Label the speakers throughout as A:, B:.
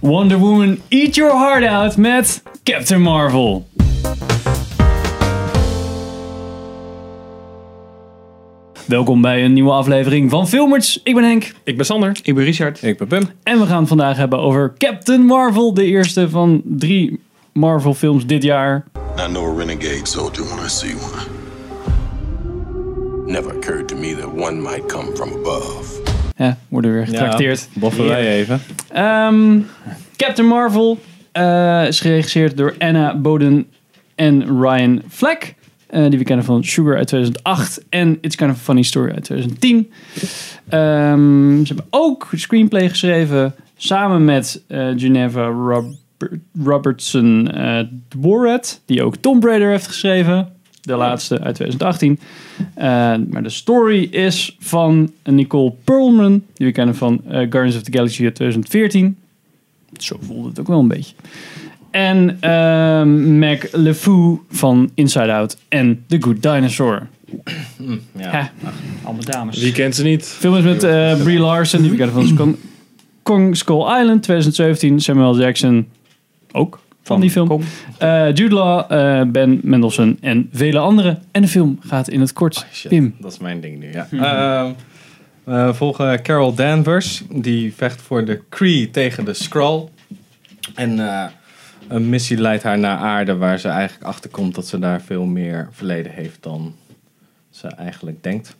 A: Wonder Woman Eat Your Heart Out met Captain Marvel. Welkom bij een nieuwe aflevering van Filmers. Ik ben Henk
B: Ik ben Sander.
C: Ik ben Richard.
B: Ik ben Pim.
A: en we gaan het vandaag hebben over Captain Marvel, de eerste van drie Marvel films dit jaar.
D: I know a renegade soldier when I see one. Never occurred to me that one might come from above.
A: Hè, worden weer getrakteerd.
B: Boffen wij even.
A: Ehm, Captain Marvel eh, is geregisseerd door Anna Boden en Ryan Fleck. eh, die we kennen van Sugar uit 2008 en It's Kind of a Funny Story uit 2010. Ehm, ze hebben ook een screenplay geschreven samen met eh, Geneva Robert- Robertson eh Dworak, die ook Tomb Raider heeft geschreven. De laatste uit 2018. Eh, maar de story is van Nicole Perlman, die we kennen van eh, Guardians of the Galaxy uit 2014. Zo voelde het ook wel een beetje. En ehm Mac LeFou van Inside Out en The Good Dinosaur.
C: Ja.
A: Ja.
C: Allemaal dames.
B: Wie kent ze niet?
A: Film is met eh, Brie Larson, die we kennen van Kong, Kong Skull Island 2017. Samuel Jackson, ook van, die film.
C: Kong.
A: Eh, Jude Law, eh, Ben Mendelsohn en vele anderen. En de film gaat in het kort.
B: Shit,
A: Pim.
B: Dat is mijn ding nu, ja. Ehm, we volgen Carol Danvers. Die vecht voor de Cree tegen de Skrull. En eh, een missie leidt haar naar aarde waar ze eigenlijk achterkomt dat ze daar veel meer verleden heeft dan ze eigenlijk denkt.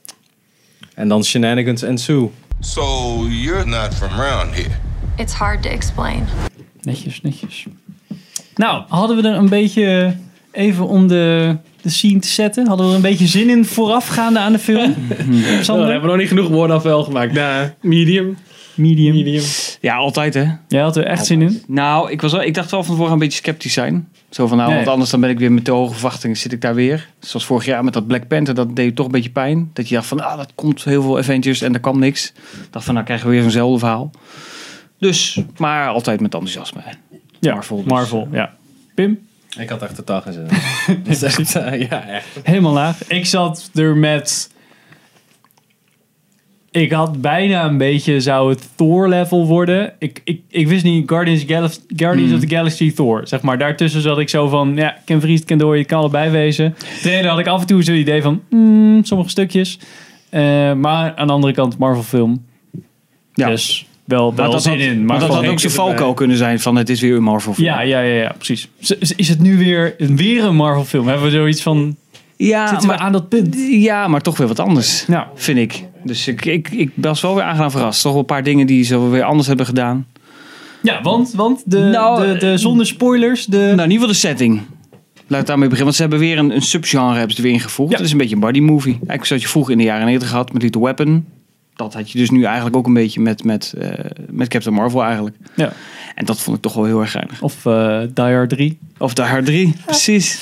B: En dan shenanigans en Sue.
D: So you're not from around here.
E: It's hard to explain.
A: Netjes, netjes. Nou, hadden we er een beetje even om de, de scene te zetten? Hadden we er een beetje zin in voorafgaande aan de film?
B: We
A: Sander?
B: nog niet genoeg woorden afwel gemaakt. Nou, medium.
A: Medium.
C: Ja, altijd hè.
A: Jij had er echt zin in?
C: Nou, ik, was wel, ik dacht wel van tevoren een beetje sceptisch zijn. Zo van, nou,
A: Nee.
C: want anders dan ben ik weer met de hoge verwachtingen zit ik daar weer. Zoals vorig jaar met dat Black Panther, dat deed toch een beetje pijn. Dat je dacht van, ah, dat komt heel veel Avengers en er kwam niks. Ik dacht van, nou krijgen we weer zo'nzelfde verhaal. Dus, maar altijd met enthousiasme.
A: Ja,
C: Marvel dus.
A: Marvel, ja. Pim?
B: Ik had echt de dag in zin. Dat is echt, eh, ja, echt.
A: Helemaal laag. Ik zat er met... Ik had bijna een beetje, zou het Thor-level worden. Ik, ik, ik wist niet, Guardians, Gal- Guardians of
C: Hmm.
A: the Galaxy Thor. Zeg maar, daartussen zat ik zo van, ja, Ken Vries, Ken Dory, het kan allebei wezen. Ten had ik af en toe zo'n idee van, hmm, sommige stukjes. Eh, maar aan de andere kant, Marvel film.
C: Ja.
A: Dus wel, wel
C: maar dat
A: zin
C: had,
A: in.
C: maar dat
A: gewoon-
C: had ook zijn valkuil kunnen zijn van, het is weer een Marvel film.
A: Ja, ja, ja, ja, precies. Z- z- Is het nu weer, weer een Marvel film? Hebben we zoiets van,
C: ja
A: zitten we
C: Ah, maar,
A: aan dat punt?
C: ja, maar toch weer wat anders.
A: Nou,
C: vind ik. Dus ik, ik, ik was wel weer aangenaam verrast. Toch wel een paar dingen die ze weer anders hebben gedaan.
A: ja, want, want de,
C: Nou,
A: de, de, zonder spoilers, de...
C: Nou, in ieder geval de setting. Laat ik daarmee beginnen. Want ze hebben weer een, een subgenre hebben ze er weer ingevoegd.
A: Ja.
C: Dat is een beetje een body movie. Eigenlijk zoals je vroeger in de jaren 90 had met Little Weapon. Dat had je dus nu eigenlijk ook een beetje met, met, eh, met Captain Marvel eigenlijk.
A: Ja.
C: En dat vond ik toch wel heel erg geinig.
A: Of eh Die Hard 3.
C: Of de Hard 3, precies.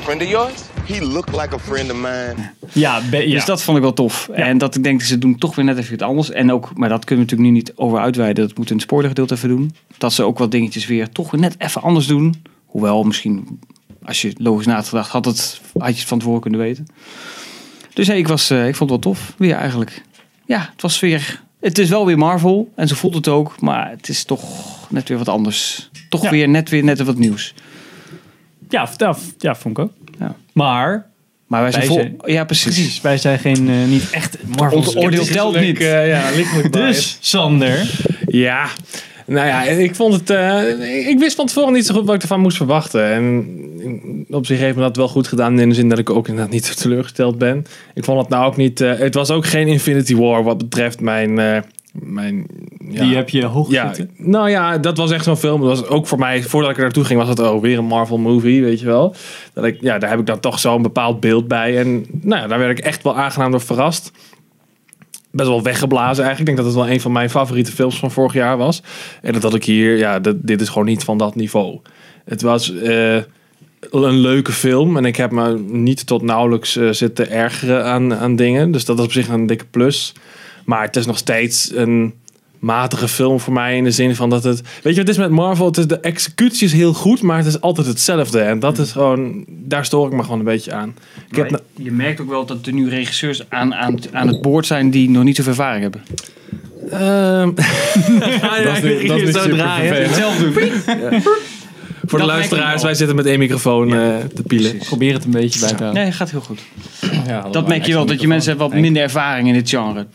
D: Friend of yours? He looked like a friend of mine.
A: Ja, be- ja.
C: Dus dat vond ik wel tof. En dat ik denk, ze doen toch weer net even iets anders. En ook, maar dat kunnen we natuurlijk nu niet over uitweiden. Dat moeten we in het spoilergedeelte even doen. Dat ze ook wat dingetjes weer toch weer net even anders doen. Hoewel, misschien als je logisch na had gedacht, had, het, had je het van tevoren kunnen weten. Dus hey, ik, was, eh, ik vond het wel tof. Weer eigenlijk. Ja, het was weer... Het is wel weer Marvel. En zo voelt het ook. Maar het is toch net weer wat anders. Toch
A: Ja.
C: weer net weer net wat nieuws.
A: ja, v- ja, v- ja, vond ik ook.
C: Ja.
A: Maar,
C: Maar wij zijn
A: Wij
C: vol... Ja, precies.
A: precies, wij zijn geen, eh, niet echt Marvel
C: Ons oordeel telt niet.
A: eh,
B: ja, lichtelijk biased.
A: Dus, Sander.
F: Ja, nou ja, ik vond het. eh, ik- ik wist van tevoren niet zo goed wat ik ervan moest verwachten. En op zich heeft me dat wel goed gedaan. In de zin dat ik ook inderdaad niet teleurgesteld ben. Ik vond het nou ook niet. eh, het was ook geen Infinity War wat betreft mijn. eh, mijn ja.
A: Die heb je hoog
F: ja,
A: zitten.
F: nou ja, dat was echt zo'n film. Dat was ook voor mij, voordat ik er naartoe ging, was het oh, weer een Marvel movie, weet je wel. Dat ik, ja, daar heb ik dan toch zo'n bepaald beeld bij. En nou ja, daar werd ik echt wel aangenaam door verrast best wel weggeblazen eigenlijk. Ik denk dat het wel een van mijn favoriete films van vorig jaar was. En dat had ik hier, ja, dat, dit is gewoon niet van dat niveau. Het was eh, een leuke film en ik heb me niet tot nauwelijks eh, zitten ergeren aan, aan dingen. Dus dat is op zich een dikke plus. Maar het is nog steeds een matige film voor mij in de zin van dat het... Weet je wat het is met Marvel? Het is, de executie is heel goed, maar het is altijd hetzelfde. En dat is gewoon... Daar stoor ik me gewoon een beetje aan. Ik heb,
C: Maar je merkt ook wel dat er nu regisseurs aan, aan, het- aan het boord zijn die nog niet zoveel ervaring hebben.
F: Ehm,
B: Dat is nu- dat is nu
F: Zo
B: super
F: draaien.
B: vervelend.
A: Zelf doen.
C: Dat
F: Voor de
C: merk ik
F: luisteraars,
C: wel.
F: wij zitten met één microfoon eh, te pielen.
A: Probeer het een beetje bij te houden.
C: Nee, gaat heel goed.
B: Ja,
C: Dat merk je wel, dat je mensen hebben wat minder ervaring in dit genre.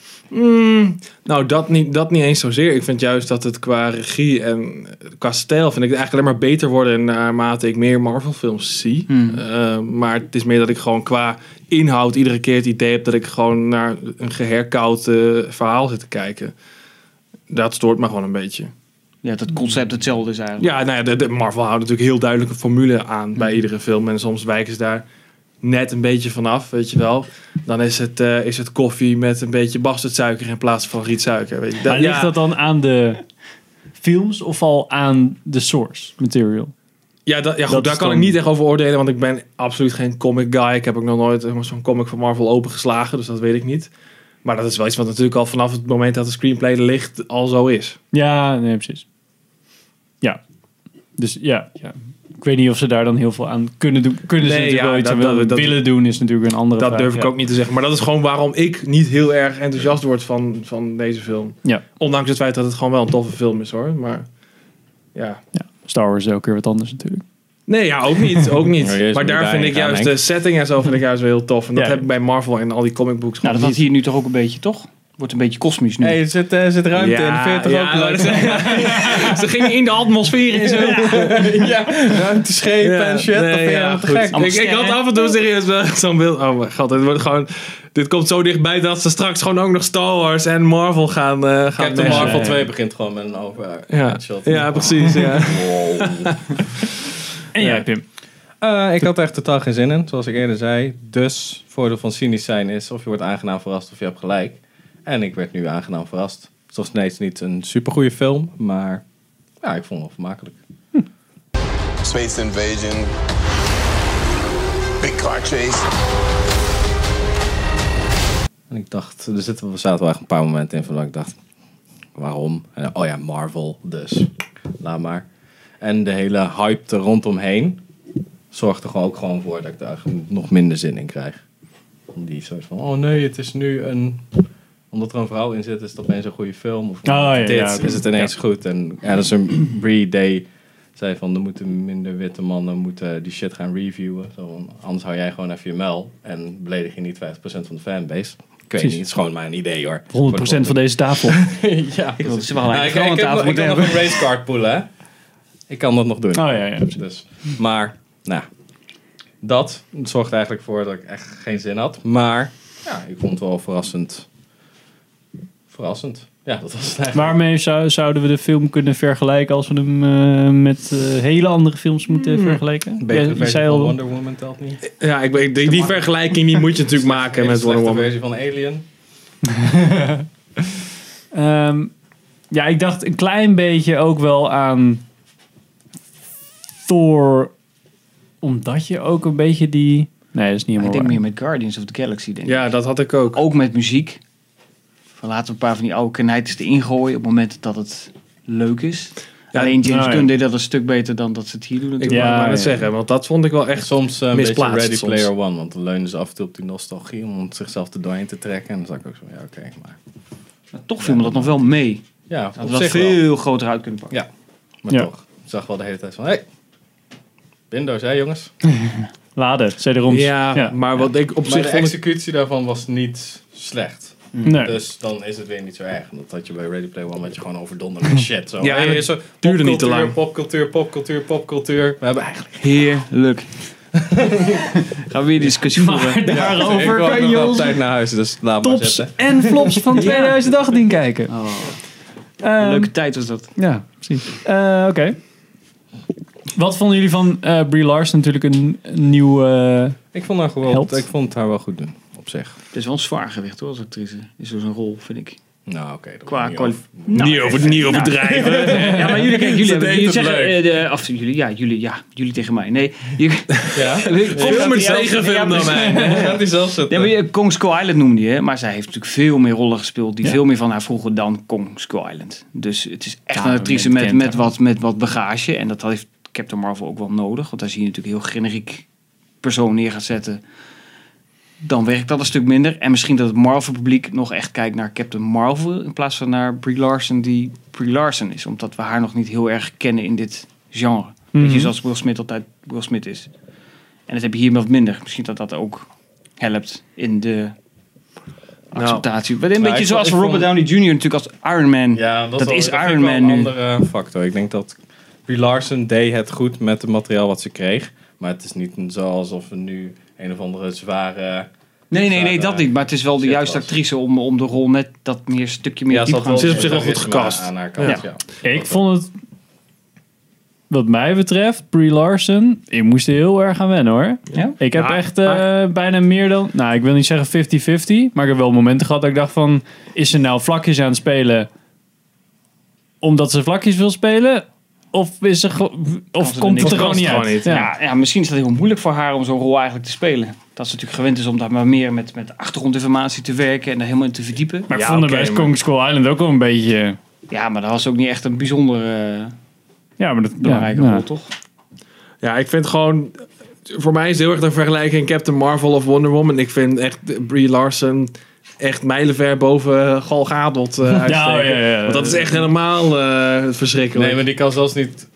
F: Nou, dat niet, dat niet eens zozeer. Ik vind juist dat het qua regie en eh, qua stijl vind ik het eigenlijk alleen maar beter worden naarmate ik meer Marvel films zie. Eh, maar het is meer dat ik gewoon qua inhoud iedere keer het idee heb dat ik gewoon naar een geherkoud eh, verhaal zit te kijken. Dat stoort me gewoon een beetje.
C: Ja, dat concept hetzelfde is eigenlijk.
F: Ja, nou ja, de, de Marvel houdt natuurlijk heel duidelijk een formule aan
A: Mm.
F: bij iedere film. En soms wijken ze daar net een beetje vanaf, weet je wel. Dan is het, eh, is het koffie met een beetje bastardsuiker in plaats van rietsuiker. Weet je.
A: Maar
F: ja.
A: ligt dat dan aan de films of al aan de source material?
F: Ja, dat, ja goed,
A: Dat
F: daar
A: is
F: kan
A: dan-
F: ik niet echt over oordelen, want ik ben absoluut geen comic guy. Ik heb ook nog nooit zeg maar, zo'n comic van Marvel opengeslagen, dus dat weet ik niet. Maar dat is wel iets wat natuurlijk al vanaf het moment dat de screenplay er ligt al zo is.
A: Ja, nee, precies. Ja. Dus ja, ja. Ik weet niet of ze daar dan heel veel aan kunnen doen. Kunnen ze
F: Nee,
A: natuurlijk
F: ja,
A: wel iets
F: dat-
A: aan willen,
F: dat-
A: willen doen, is natuurlijk een andere
F: Dat
A: vraag.
F: durf ik
A: ja.
F: ook niet te zeggen. Maar dat is gewoon waarom ik niet heel erg enthousiast word van, van deze film.
A: Ja,
F: Ondanks het feit dat het gewoon wel een toffe film is hoor. Maar ja.
A: Star Wars is elke keer wat anders natuurlijk.
F: Nee, ja, ook niet. Ook niet.
B: Oh, jezus,
F: maar
B: moet
F: daar
B: daar
F: vind
B: niet
F: ik
B: aan
F: juist de
B: denken.
F: setting en zo vind ik juist wel heel tof. En dat
A: Ja.
F: heb ik bij Marvel en al die comic
C: Nou,
F: books gewoon
C: dat had
F: niet.
C: hier nu toch ook een beetje, toch? Wordt een beetje kosmisch nu.
B: Hey, er zit, eh, zit ruimte
F: Ja,
B: in. Vind je het
F: ja,
B: toch ook leuk?
C: Ze gingen in de atmosfeer en zo.
B: ja, ruimteschepen
F: Ja,
B: en shit. dat
F: nee,
B: vind je
F: ja,
B: helemaal te
F: goed.
B: gek.
C: Allemaal
F: Ik, ik had
C: sterren.
F: af en toe serieus wel zo'n beeld. Oh mijn god, dit, wordt gewoon, dit komt zo dichtbij dat ze straks gewoon ook nog Star Wars en Marvel gaan, eh gaan
B: Captain
F: mengen.
B: Marvel 2 begint gewoon met een over.
F: Ja,
B: shot.
F: ja precies. Ja.
A: En
F: Ja.
A: jij, Pim?
B: Eh, ik had er echt totaal geen zin in, zoals ik eerder zei. Dus, voordeel van cynisch zijn is of je wordt aangenaam verrast of je hebt gelijk. En ik werd nu aangenaam verrast. Het is nog steeds niet een supergoeie film, maar ja, ik vond het wel vermakelijk.
D: Space invasion, big car chase.
B: En ik dacht, er zitten, er zaten wel echt een paar momenten in van dat ik dacht, waarom? En, oh ja, Marvel, dus laat maar. En de hele hype er rondomheen zorgt er gewoon ook gewoon voor dat ik daar nog minder zin in krijg. Om Die soort van, oh nee, het is nu een... Omdat er een vrouw in zit, is het opeens een goede film. Of
A: Ah, ja,
B: dit
A: ja,
B: is het ineens goed. En Alison Brie Day zei van, er moeten minder witte mannen moeten die shit gaan reviewen. Zo, van, anders hou jij gewoon even je mel en beledig je niet 50% van de fanbase. Ik weet
A: Precies.
B: niet, het is gewoon maar een idee hoor.
A: 100% van deze tafel. Oh,
B: ja,
C: Ik wilde ze wel
B: Nou,
C: eigenlijk
B: ik, ik,
C: gewoon aan
B: heb nog-
C: tafel
B: ik
C: moeten
B: kan nog
C: hebben.
B: een racecard poelen, hè? Ik kan dat nog doen.
A: Oh ja, ja.
B: Dus, maar, nou, dat zorgt eigenlijk voor dat ik echt geen zin had. Maar, ja, ik vond het wel verrassend. Verrassend. Ja, dat was het eigenlijk.
A: Waarmee zou, zouden we de film kunnen vergelijken als we hem eh, met eh, hele andere films
F: Hmm.
A: moeten vergelijken?
B: Een betere
A: Jij- je
B: versie
A: zei
B: van
A: al-
B: Wonder Woman telt niet.
F: ja, ik, ben- die, die vergelijking die moet je natuurlijk maken
B: Hele
F: met
B: slechte
F: Wonder Woman.
B: versie van Alien.
A: Ehm, ja, ik dacht een klein beetje ook wel aan Thor. Omdat je ook een beetje die... Nee, dat is niet
C: Ik
A: helemaal
C: denk
A: waar.
C: meer met Guardians of the Galaxy, denk ik.
F: Ja, dat had ik ook.
B: Oh,
C: Ook met muziek. Van laten we een paar van die oude knijters erin gooien op het moment dat het leuk is.
F: Ja,
C: Alleen James
A: nou ja.
C: Gunn deed dat een stuk beter dan dat ze het hier doen
F: Ik
C: natuurlijk.
F: wou
A: Ja,
F: maar net
A: ja.
F: zeggen, want dat vond ik wel
B: En
F: echt...
B: soms eh, een beetje
F: Misplaatst
B: Ready
F: soms.
B: Player One. Want dan leunen ze af en toe op die nostalgie om zichzelf er doorheen te trekken. En dan zag ik ook zo, ja, oké. maar
C: Maar toch viel me dat nog wel mee.
B: ja, op
C: Hadden we dat
B: zich wel.
C: veel groter uit kunnen pakken.
B: Ja, maar
A: Ja.
B: toch. Ik zag wel de hele tijd van, hé, hey, Windows, hè jongens?
A: Laden, CD-ROMs.
F: Ja, maar wat ik op
B: maar
F: zich
B: de
F: vond ik-
B: executie daarvan was niet slecht.
A: Nee.
B: Dus dan is het weer niet zo erg. Want Dat had je bij Ready Play One met je gewoon overdonderd met shit. Zo.
F: Ja,
B: Hey,
F: en het
B: zo,
F: duurde niet te
B: popcultuur,
F: lang.
B: Popcultuur, popcultuur, popcultuur. We hebben eigenlijk...
C: Heerlijk. Gaan we weer discussie voeren.
A: Maar daarover
B: ik
A: kan je
B: op
A: ons
B: tijd naar huis, dus laat maar
A: tops
B: zitten.
A: en flops van 2018 kijken.
C: Oh.
A: Ehm,
C: Leuke tijd was dat.
A: Ja, precies. Eh, Oké. Wat vonden jullie van eh Brie Larson? Natuurlijk een, een nieuw... eh,
B: Ik vond, haar gewoon,
A: Helpt.
B: ik vond het haar wel goed doen, op zich.
C: Het is wel een zwaar gewicht hoor, als actrice. Is zo'n rol, vind ik.
B: Nou, oké. dat
C: Qua
B: moet niet
C: kwali-
B: over.
F: niet, over, niet overdrijven.
C: Ja, maar jullie, kijk, jullie, hebben,
B: deed
C: jullie
B: het
C: zeggen...
B: leuk.
C: eh, de- of jullie, ja, jullie, ja, jullie tegen mij. Nee, jullie,
B: Ja?
F: Filmers tegenfilm dan mij.
B: Gaat hij zelf zitten.
C: Ja, maar
A: eh,
C: je- Kong Skull Island noemde je, hè? maar zij heeft natuurlijk veel meer rollen gespeeld die
A: Ja.
C: veel meer van haar vroegen dan Kong Skull Island. Dus het is echt
A: Ja,
C: een actrice
A: men
C: met,
A: kent
C: met,
A: haar.
C: wat, met wat bagage. En dat heeft Captain Marvel ook wel nodig, want daar zie je natuurlijk een heel generiek persoon neer gaat zetten. dan werkt dat een stuk minder. En misschien dat het Marvel-publiek nog echt kijkt naar Captain Marvel in plaats van naar Brie Larson, die Brie Larson is. Omdat we haar nog niet heel erg kennen in dit genre. Weet
A: Mhm.
C: je, zoals Will Smith altijd Will Smith is. En dat heb je hier wat minder. Misschien dat dat ook helpt in de acceptatie. Maar een
B: Nou,
C: beetje
B: ik-
C: zoals
B: ik
C: voor
B: vond-
C: Robert Downey Jr. natuurlijk als Iron Man.
B: Ja, dat,
C: Dat
B: wel-
C: is
B: vind ik
C: Iron
B: wel
C: Man
B: een
C: nu.
B: andere eh, factor. Ik denk dat Brie Larson deed het goed met het materiaal wat ze kreeg. Maar het is niet zo alsof we nu een of andere zware...
C: Nee, nee, nee,
B: Zara
C: dat niet. Maar het is wel de
B: Shit
C: juiste
B: was.
C: actrice om, om de rol net dat meer stukje meer diep
B: wel
C: gaan.
F: Ze is op zich wel goed
B: charisma
F: gecast.
B: Aan haar kant, ja.
C: Ja.
A: Ik vond het, wat mij betreft, Brie Larson, ik moest er heel erg aan wennen hoor.
C: Ja?
A: Ik heb
F: Ja,
A: echt eh, bijna meer dan, nou ik wil niet zeggen 50-50, maar ik heb wel momenten gehad dat ik dacht van, is ze nou vlakjes aan het spelen omdat ze vlakjes wil spelen? Of, is ze ge-
C: ze
A: of
C: er
A: komt
C: niks
A: het er
F: van?
A: gewoon niet
F: Kan
A: uit?
F: het gewoon
C: Ja. Ja, misschien is dat heel moeilijk voor haar om zo'n rol eigenlijk te spelen. Dat ze natuurlijk gewend is om daar maar meer met, met achtergrondinformatie te werken en daar helemaal in te verdiepen.
A: Maar ik
F: Ja,
A: vond
F: oké,
A: het bij
F: maar-
A: Kong Skull Island ook wel een beetje...
C: Ja, maar dat was ook niet echt een bijzonder eh,
A: Ja, maar dat
C: belangrijke
A: ja,
C: rol,
A: ja.
C: toch?
F: Ja, ik vind gewoon. Voor mij is het heel erg een vergelijking Captain Marvel of Wonder Woman. Ik vind echt Brie Larson echt mijlenver boven Gal Gadot eh uitsteken.
A: oh, ja, ja.
F: Want dat is echt helemaal eh, verschrikkelijk.
B: Nee, maar die kan zelfs niet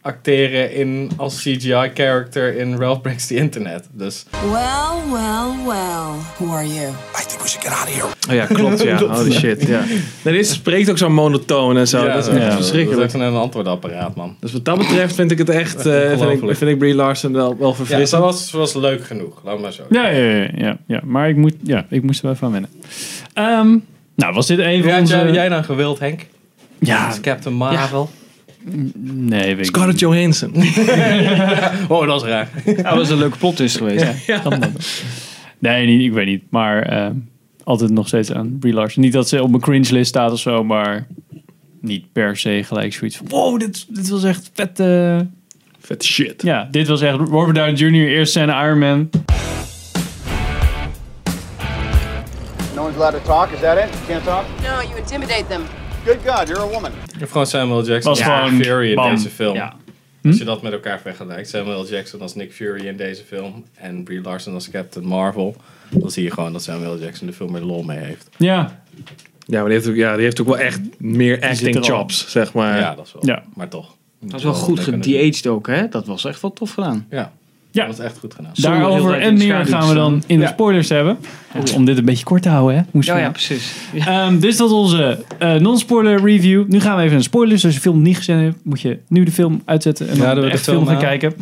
B: acteren in, als CGI-character in Ralph Breaks the Internet. Dus
G: Well, well, well. Who are you?
D: I think we should get out of here.
F: Oh ja, klopt. Ja. Holy shit. Ja. Nee, dit spreekt ook zo monotoon en zo. dat is echt
A: ja.
B: Dat is
F: verschrikkelijk.
B: echt een antwoordapparaat, man.
F: Dus wat dat betreft vind ik het echt. eh, vind, ik,
B: Ongelooflijk.
F: vind ik Brie Larson wel, wel
B: Ja,
F: verfrissend.
B: ze was, ze was leuk genoeg, laat maar zo.
A: Ja, ja, ja, ja, ja. Maar ik, moet, ja, ik moest er wel even aan wennen. Ehm, nou, was dit even
B: Wie had
A: onze...
B: jij, jij dan gewild, Henk?
A: Ja,
B: Als Captain Marvel.
A: nee, weet ik
F: Scarlett Johansson.
B: Oh, dat is raar.
C: Ja, dat is een leuke plot is geweest.
A: niet. Nee, niet, ik weet niet. Maar ehm, altijd nog steeds aan Brie Larson. Niet dat ze op mijn cringe list staat of zo, maar niet per se gelijk zoiets van... Wow, dit, dit was echt vet... eh."
F: Vet shit.
A: ja, dit was echt Robert Downey Jr. eerst zijn Iron Man.
H: No one's allowed to talk, is that it? Can't talk?
G: No, you intimidate them.
H: Good God, you're a woman.
B: Ik heb gewoon Samuel Jackson
A: Was
B: als
A: gewoon
B: Nick Fury in
A: bam. Hm?
B: deze film.
A: Ja.
B: Als je dat met elkaar vergelijkt. Samuel L. Jackson als Nick Fury in deze film. En Brie Larson als Captain Marvel. Dan zie je gewoon dat Samuel L. Jackson er veel meer lol mee heeft.
A: Ja,
F: Ja, maar die heeft ook, ja, die heeft ook wel echt meer acting
A: er al.
F: chops, zeg maar.
B: ja, dat is wel.
A: ja.
B: Maar toch.
C: Dat is wel goed
B: gedieet.
C: gedieaged ook, hè? Dat was echt wel tof gedaan.
B: Ja.
A: Ja.
B: Dat was echt goed gedaan.
C: Zonder heel de
A: Daarover
C: tijd
A: en
C: in de
A: meer
C: schaduw
A: gaan we dan in de
B: Ja.
A: spoilers hebben. Om dit een beetje kort te houden, hè? Moest
C: Ja,
A: we-
C: ja, precies.
A: Ehm, dus dat onze eh, non-spoiler review. Nu gaan we even naar de spoilers. Dus als je de film niet gezien hebt, moet je nu de film uitzetten. En dan
B: Raden
A: de,
B: we de
A: echte film
B: film
A: gaan
B: aan?
A: kijken.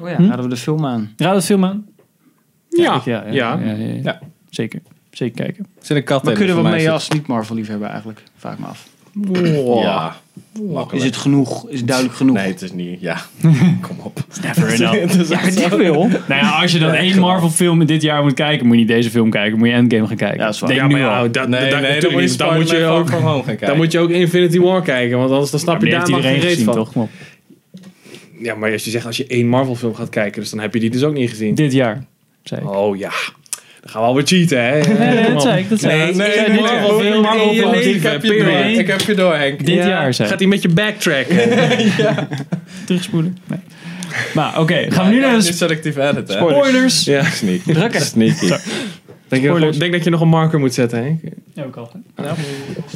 C: Oh ja, hadden we de film aan.
A: Raad het film aan?
F: Ja.
A: ik- ja, ja,
F: Ja.
A: ja, ja, ja.
B: Ja.
A: Zeker. Zeker kijken.
B: Er zit een kat
C: Maar
B: in,
C: kunnen
B: dus
C: we
B: voor mij
C: mee
B: is
C: als niet Marvel liefhebber eigenlijk? Vaak me af.
B: het-
F: Wow.
B: Ja.
C: Is
B: Makkelijk.
C: het genoeg? Is het duidelijk genoeg?
B: Nee, het is niet. Ja. Kom op.
A: Never enough.
C: Ja, ik wil.
A: nou ja, als je dan één Marvel film in dit jaar moet kijken, moet je niet deze film kijken. Moet je Endgame gaan kijken.
C: Ja, dat is waar.
A: Denk
F: Ja, maar
A: nu
F: ja,
A: al.
F: dat,
B: Nee,
F: dat,
B: nee,
F: natuurlijk
B: dan moet je
F: niet. Dan moet je
B: Spider-Man
F: ook...
B: Far From Home gaan
F: Dan
B: kijken.
F: moet je ook Infinity War kijken, want anders dan snap
A: Die
F: je
A: heeft
F: daar maar geen
A: iedereen
F: reet
A: gezien,
F: van.
A: toch? Kom op.
F: Ja, maar als je zegt als je één Marvel film gaat kijken, dus dan heb je die dus ook niet gezien.
A: Dit jaar. Zei ik.
F: Oh ja, dan gaan we alweer cheaten, hè?
A: Nee,
F: Kom
A: dat
F: op.
A: zei ik. Dat zei ik.
B: Nee,
A: Ik zei
B: nee,
A: dit
B: nee,
A: jaar wel
B: nee,
A: veel
B: nee,
A: Marvel
B: nee,
A: film.
B: nee,
F: die
B: Ik heb je
F: period.
B: door. Ik heb je door, Henk.
A: Dit
F: Ja,
A: jaar zei
F: Gaat hij met je backtracken?
A: Terugspoelen. Nee. Maar oké, gaan we nu naar de
B: Niet selectief edit, hè?
A: spoilers.
F: ja.
B: Sneak.
C: Drukken.
B: Sneaky.
F: Denk, je nog-
A: Spoilers.
F: denk dat je nog een marker moet zetten, Henk.
A: Ja, ook al.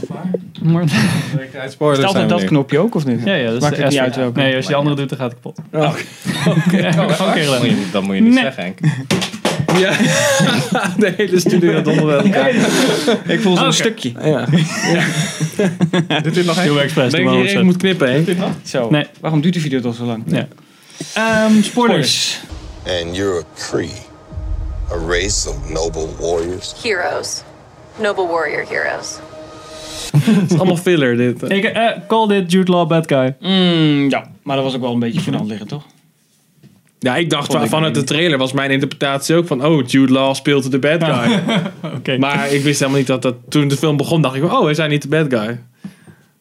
B: Spoilers
C: Is het
B: zijn
C: altijd
B: we
C: dat
B: nu.
C: knopje ook, of niet?
A: Ja, ja, dat
C: Maakt
A: is de
C: het niet
A: S-
C: uit welke.
A: Nee, als je die andere doet, dan gaat het kapot.
F: Oh.
A: Gewoon
B: Dat moet
A: keer
B: je- Dat moet je niet
A: Nee.
B: zeggen, Henk.
F: Ja, de hele studio dat onder elkaar.
C: Ik voel zo'n
A: Oké.
C: stukje.
F: Ja.
B: Dit is nog
A: Heel expres.
F: Denk dat je hierin moet knippen, Henk?
C: Zo.
A: Nee.
C: Waarom duurt die video toch zo lang?
A: Ehm, spoilers.
D: And you're a Cree, a race of noble warriors.
E: Heroes. Noble warrior heroes.
F: Het is allemaal filler, dit.
A: Ik eh, call dit Jude Law bad guy.
C: Mm, ja, maar dat was ook wel een beetje voor de hand liggen, toch?
F: Ja, ik dacht
C: Vond ik
F: vanuit de
C: niet.
F: trailer was mijn interpretatie ook van... Oh, Jude Law speelt de bad guy.
A: Oké.
F: Maar ik wist helemaal niet dat dat... Toen de film begon dacht ik... Oh, is hij niet de bad guy?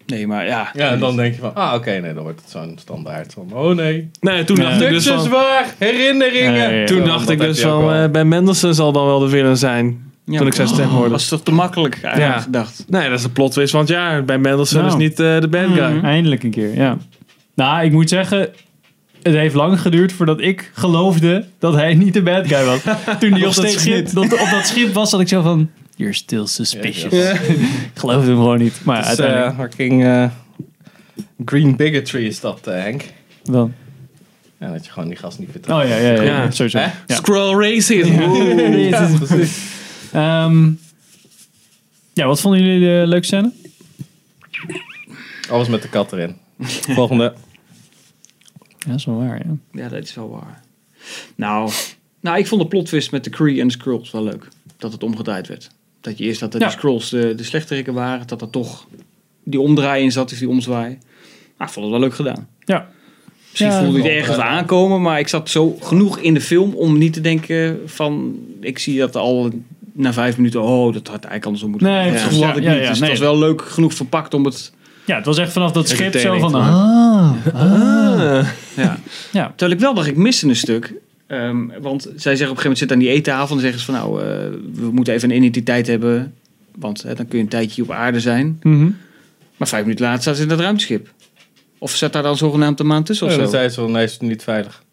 C: Nee, maar ja.
B: Ja, en dan denk je van, ah oké, nee, dan wordt het zo'n standaard. Van, oh nee.
F: Nee, toen dacht ik dus van...
B: waar, herinneringen.
A: Ja, ja, ja.
F: Toen
B: Ja,
F: dacht
B: dat
F: ik
B: heb
F: dus
B: je ook
F: van...
B: wel. Oh.
F: eh, ben Mendelssohn zal dan wel de villain zijn.
C: Ja,
F: toen ik zijn stem hoorde.
C: Dat was toch te makkelijk eigenlijk
F: Ja.
C: gedacht.
F: Nee, dat is de plot twist. Want ja, Ben Mendelssohn
A: Nou.
C: Mm.
F: is niet eh, de bad guy.
A: Eindelijk een keer, ja. Nou, ik moet zeggen, het heeft lang geduurd voordat ik geloofde dat hij niet de bad guy was. Toen hij op dat, schip, dat, op dat schip was, dat ik zo van... You're still suspicious. ik geloofde hem gewoon niet. Maar ja,
B: Dus,
A: uiteindelijk
B: eh, fucking eh, green bigotry is dat, eh, Henk.
A: wel.
B: Ja, dat je gewoon die gast niet vertrouwt.
A: Oh ja, ja, ja. ja.
F: Ja.
A: Sowieso.
B: Hè?
A: Ja.
F: Scroll Racing.
B: Ja, precies.
A: Ehm, ja, wat vonden jullie de leuke scène?
B: Alles met de kat erin. Volgende.
A: Ja, dat is wel waar, ja.
C: Ja, dat is wel waar. Nou, nou ik vond de plotwist met de Kree en de Skrulls wel leuk. Dat het omgedraaid werd. Dat je eerst dat de
A: Ja.
C: Skrulls de, de slechterikken waren. Dat er toch die omdraai in zat, dus die omzwaai. Maar ik vond het wel leuk gedaan.
A: Ja.
C: Misschien
A: Ja,
C: voelde ik het
B: wel.
A: eh,
C: ergens wel aankomen, maar ik zat zo genoeg in de film om niet te denken van... Ik zie dat al na vijf minuten, oh, dat had eigenlijk andersom moeten
A: Nee,
C: dat
A: precies.
C: had ik
A: Ja,
C: niet.
A: ja,
C: dus
A: nee.
C: het was wel leuk genoeg verpakt om het...
A: Ja, het was echt vanaf dat schip zo van...
B: Entertaining te
A: ah,
B: maken.
C: Ja.
A: Ja.
C: Terwijl ik wel dacht, ik miste een stuk. Ehm, want zij zeggen op een gegeven moment, zit aan die eettafel en zeggen ze van nou, eh, we moeten even een identiteit hebben. Want hè, dan kun je een tijdje op aarde zijn.
A: mhm.
C: Maar vijf minuten later staat ze in dat ruimteschip. Of zat daar dan zogenaamd een maand tussen
B: Ja,
C: of
B: dan
C: zo?
B: zei ze wel, nee, is het niet veilig.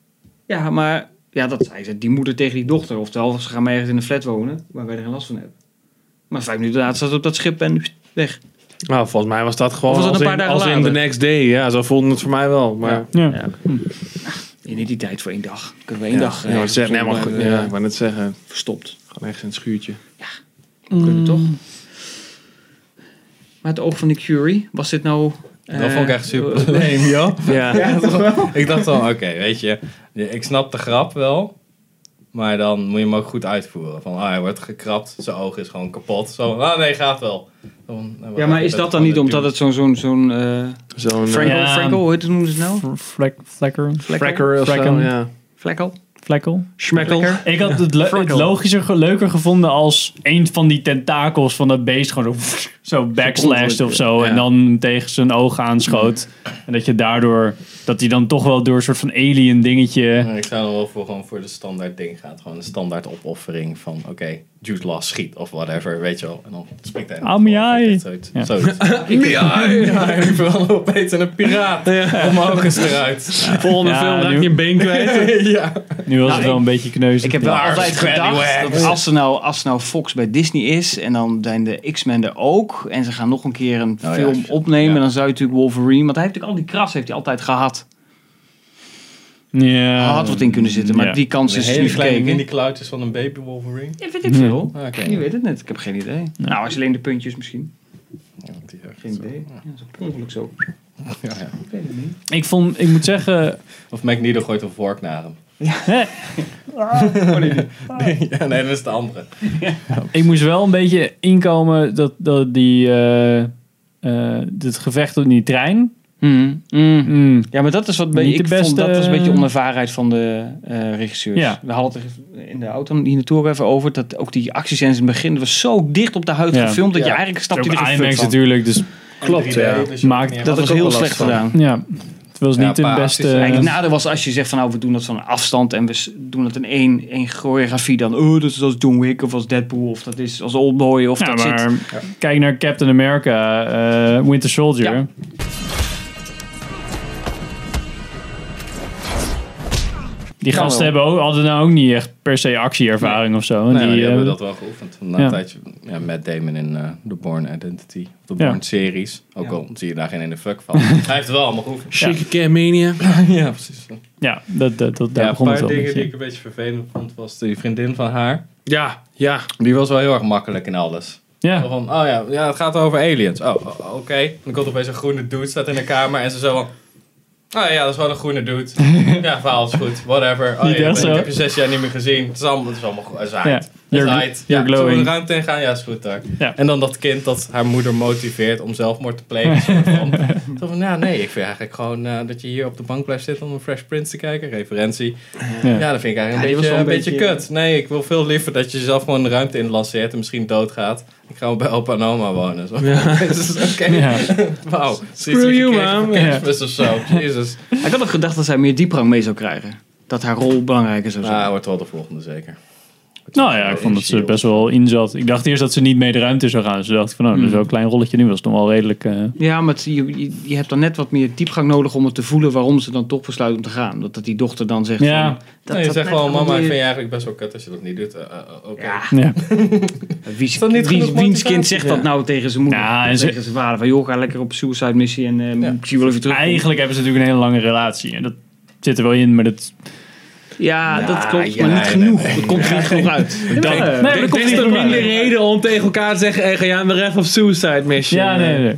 C: Ja, maar ja, dat zei ze. Die moeder tegen die dochter. Oftewel, ze gaan maar ergens in een flat wonen waar wij er geen last van hebben. Maar vijf minuten later staat ze op dat schip en pst, weg.
F: Nou, volgens mij was dat gewoon
C: Of was dat
F: als,
C: een
F: in,
C: paar dagen
F: als in
C: later?
F: The Next Day. Ja, zo voelde het voor mij wel. Maar,
B: Ja.
F: ja.
A: Ja.
C: Ja. Identiteit voor één dag. Kunnen we één dag
F: Ja,
C: eh,
F: maar zeg- nee, maar goed,
C: zonder,
F: ja,
C: eh,
F: ik wou net zeggen.
C: verstopt.
F: Gewoon ergens in het schuurtje.
C: kunnen, toch? Maar het oog van de Curie, was dit nou...
B: Dat
C: eh,
B: vond ik echt super lame, joh.
F: Ja.
B: Ik dacht wel, oké, weet je, ja, ik snap de grap wel. Maar dan moet je hem ook goed uitvoeren. Van, ah, hij wordt gekrapt, zijn oog is gewoon kapot. Zo, ah nee, gaat wel. Van, nou,
C: Ja, maar is dat dan niet omdat het zo'n... zo'n zo'n eh,
F: Zo'n eh,
C: Franco,
A: Ja.
C: Franco, hoe heet het, noemen ze het nou?
A: Fr- Flek, flekker,
F: Fracker of zo.
A: Fracken.
F: Ja.
C: Flekkel?
A: flekkel.
F: Schmeckel.
A: Ik had het, le- het logischer, ge- leuker gevonden als een van die tentakels van dat beest gewoon zo, zo backslashed of zo. En
F: Ja.
A: dan tegen zijn oog aanschoot. En dat je daardoor, dat hij dan toch wel door een soort van alien dingetje.
B: Ik zou er wel voor, gewoon voor de standaard ding gaan. Gewoon een standaard opoffering van, oké, Jude Law schiet of whatever, weet je wel. En dan springt hij.
A: Amjai.
B: Of zoiets.
A: Ja.
B: Zoiets. Ja, ik vooral opeens in een piraat. Omhoog is eruit.
F: Volgende
A: Ja,
F: film raak
A: nu-
F: je een been kwijt.
B: ja.
A: Nu was het wel een beetje kneus.
C: Ik heb wel altijd gedacht,
B: Scallywag.
C: dat als, er nou, als er nou Fox bij Disney is en dan zijn de X-Men er ook en ze gaan nog een keer een
B: ja,
C: film
B: shit.
C: opnemen,
B: Ja.
C: dan zou je natuurlijk Wolverine, want hij heeft natuurlijk al die kras heeft hij altijd gehad. Hij
A: Ja.
C: had wat in kunnen zitten, maar
A: Ja.
C: die kans
B: Een
C: is
B: hele
C: niet
B: kleine
C: gekeken.
B: mini klauwtjes van een baby Wolverine.
C: Ja, weet ik veel.
B: Oké.
C: Je weet het net, ik heb geen idee. Nou, als je alleen de puntjes misschien.
B: Ja, die echt
C: Geen
B: zo.
C: idee. Ja, dat is per ongeluk zo.
B: Ja, ja.
A: Ik, vond, ik moet zeggen,
B: Of Magneto gooit een vork naar hem. Oh,
A: hè,
B: ja, nee, dat is de andere.
A: ik moest wel een beetje inkomen dat, dat die, eh eh, dit gevecht op die trein.
C: Mm, mm.
A: Mm.
C: Ja, maar dat is wat
A: Niet
C: bij,
A: de
C: ik
A: beste-
C: vond dat was een beetje onervarenheid van de eh regisseurs.
A: eh, Ja.
C: We hadden het er in de auto hier naartoe ook even over dat ook die actiescènes in het begin was zo dicht op de huid
A: Ja.
C: gefilmd dat je
B: Ja.
C: eigenlijk
A: Ook
C: snapt je er geen
A: IMAX
C: fuck van.
A: natuurlijk, dus
F: Klopt, ja.
B: dus
A: Maakt-
C: Dat was
F: ook
C: heel
F: wel
C: slecht
F: last van.
C: gedaan.
A: ja, het was
B: Ja,
A: niet een
B: paar
A: beste...
B: acties.
C: Kijk, het nadeel was als je zegt van nou we doen dat van een afstand en we s- doen het in één, één choreografie dan oh dat is als John Wick of als Deadpool of dat is als Oldboy of
A: Ja,
C: dat
A: maar
C: zit
A: kijk naar Captain America, eh, Winter Soldier.
C: Ja.
A: Die
C: Ja,
A: gasten
C: wel.
A: hebben ook, hadden nou ook niet echt per se actieervaring of zo.
B: Nee, maar
A: die,
B: die hebben
A: eh,
B: dat wel geoefend. Na
A: ja.
B: een tijdje ja, met Damon in eh The Born Identity. Of The
A: Ja.
B: Born series. Ook
C: Ja.
B: al zie je daar geen ene fuck van. Hij heeft het wel allemaal geoefend.
F: Chique Cam Mania.
B: ja, precies.
A: Ja, dat, dat, dat, daar
B: Ja, een
A: begon het
B: paar
A: wel
B: dingen
A: met,
B: die
A: ja.
B: ik een beetje vervelend vond was die vriendin van haar.
F: Ja, ja.
B: Die was wel heel erg makkelijk in alles. Zo
A: Ja,
B: Van, oh ja, ja, het gaat over aliens. Oh, o- oké. Dan komt opeens een groene dude, staat in de kamer en ze zo van... Oh ja, dat is gewoon een groene dude. ja, verhaal is goed. Whatever. Oh,
A: Niet
B: ja,
A: echt
B: ik
A: zo.
B: heb je zes jaar niet meer gezien. Het is allemaal, het is allemaal goed. Het is
A: ja.
B: uit.
A: You're,
B: Het is
A: gl-
B: uit. Ja,
A: you're
B: zullen we de
A: glowing.
B: ruimte in gaan? Ja, is goed daar.
A: Ja.
B: En dan dat kind dat haar moeder motiveert om zelfmoord te plegen. soort van. Zo van, nou nee, ik vind eigenlijk gewoon eh, dat je hier op de bank blijft zitten om een Fresh Prince te kijken. Referentie.
A: Ja.
B: Ja, dat vind ik eigenlijk
C: Ja,
B: een,
C: die was
B: beetje,
C: wel
B: een
C: een
B: beetje,
C: beetje-
B: kut. Nee, ik wil veel liever dat je jezelf gewoon de ruimte in lanceert en misschien doodgaat. Ik ga wel bij opa en oma wonen. Zo. Dus, Oké.
A: Ja.
B: Wauw.
F: Screw you, man.
B: Kerstmis of zo. Jezus.
C: Ik had ook gedacht dat zij meer diepgang mee zou krijgen. Dat haar rol belangrijker zou zijn.
B: Nou, wordt wel de volgende zeker.
A: Nou ja, ik vond dat ze er best wel in zat. Ik dacht eerst dat ze niet mee de ruimte zou gaan. Ze dacht ik van, nou, dat
B: Hmm.
A: is wel een klein rolletje. Nu was het nog wel redelijk... eh,
C: Ja, maar het- je, je, je hebt dan net wat meer diepgang nodig om het te voelen waarom ze dan toch besluit om te gaan. Dat, dat die dochter dan zegt
A: Ja.
C: van, dat,
B: Nee, je zegt
C: dat net
B: gewoon, mama, ik
C: allemaal
B: vind je
C: weer-
B: eigenlijk best wel kut als je dat niet doet. Eh, eh, eh, Oké.
A: ja.
C: Wie,
B: dat niet
C: wie-
B: genoeg
C: wiens kind
B: motivatie?
C: zegt dat
B: Ja.
C: nou tegen zijn moeder?
A: Ja, en
C: Of
A: ze-
C: tegen zijn vader. Van joh, ga lekker op suicide missie en eh, ik zie wel even terug.
A: Eigenlijk hebben ze natuurlijk een hele lange relatie. En dat zit er wel in, maar dat...
C: Ja, dat klopt,
B: ja,
C: maar niet
B: nee,
C: genoeg. Dat komt er niet genoeg uit.
F: Dan,
C: Ja.
A: Nee, dat
F: er
A: komt niet
F: is toch
A: door mij.
F: minder reden om tegen elkaar te zeggen... Hey, ga jij aan de ref of suicide mission?
A: Ja, nee, nee.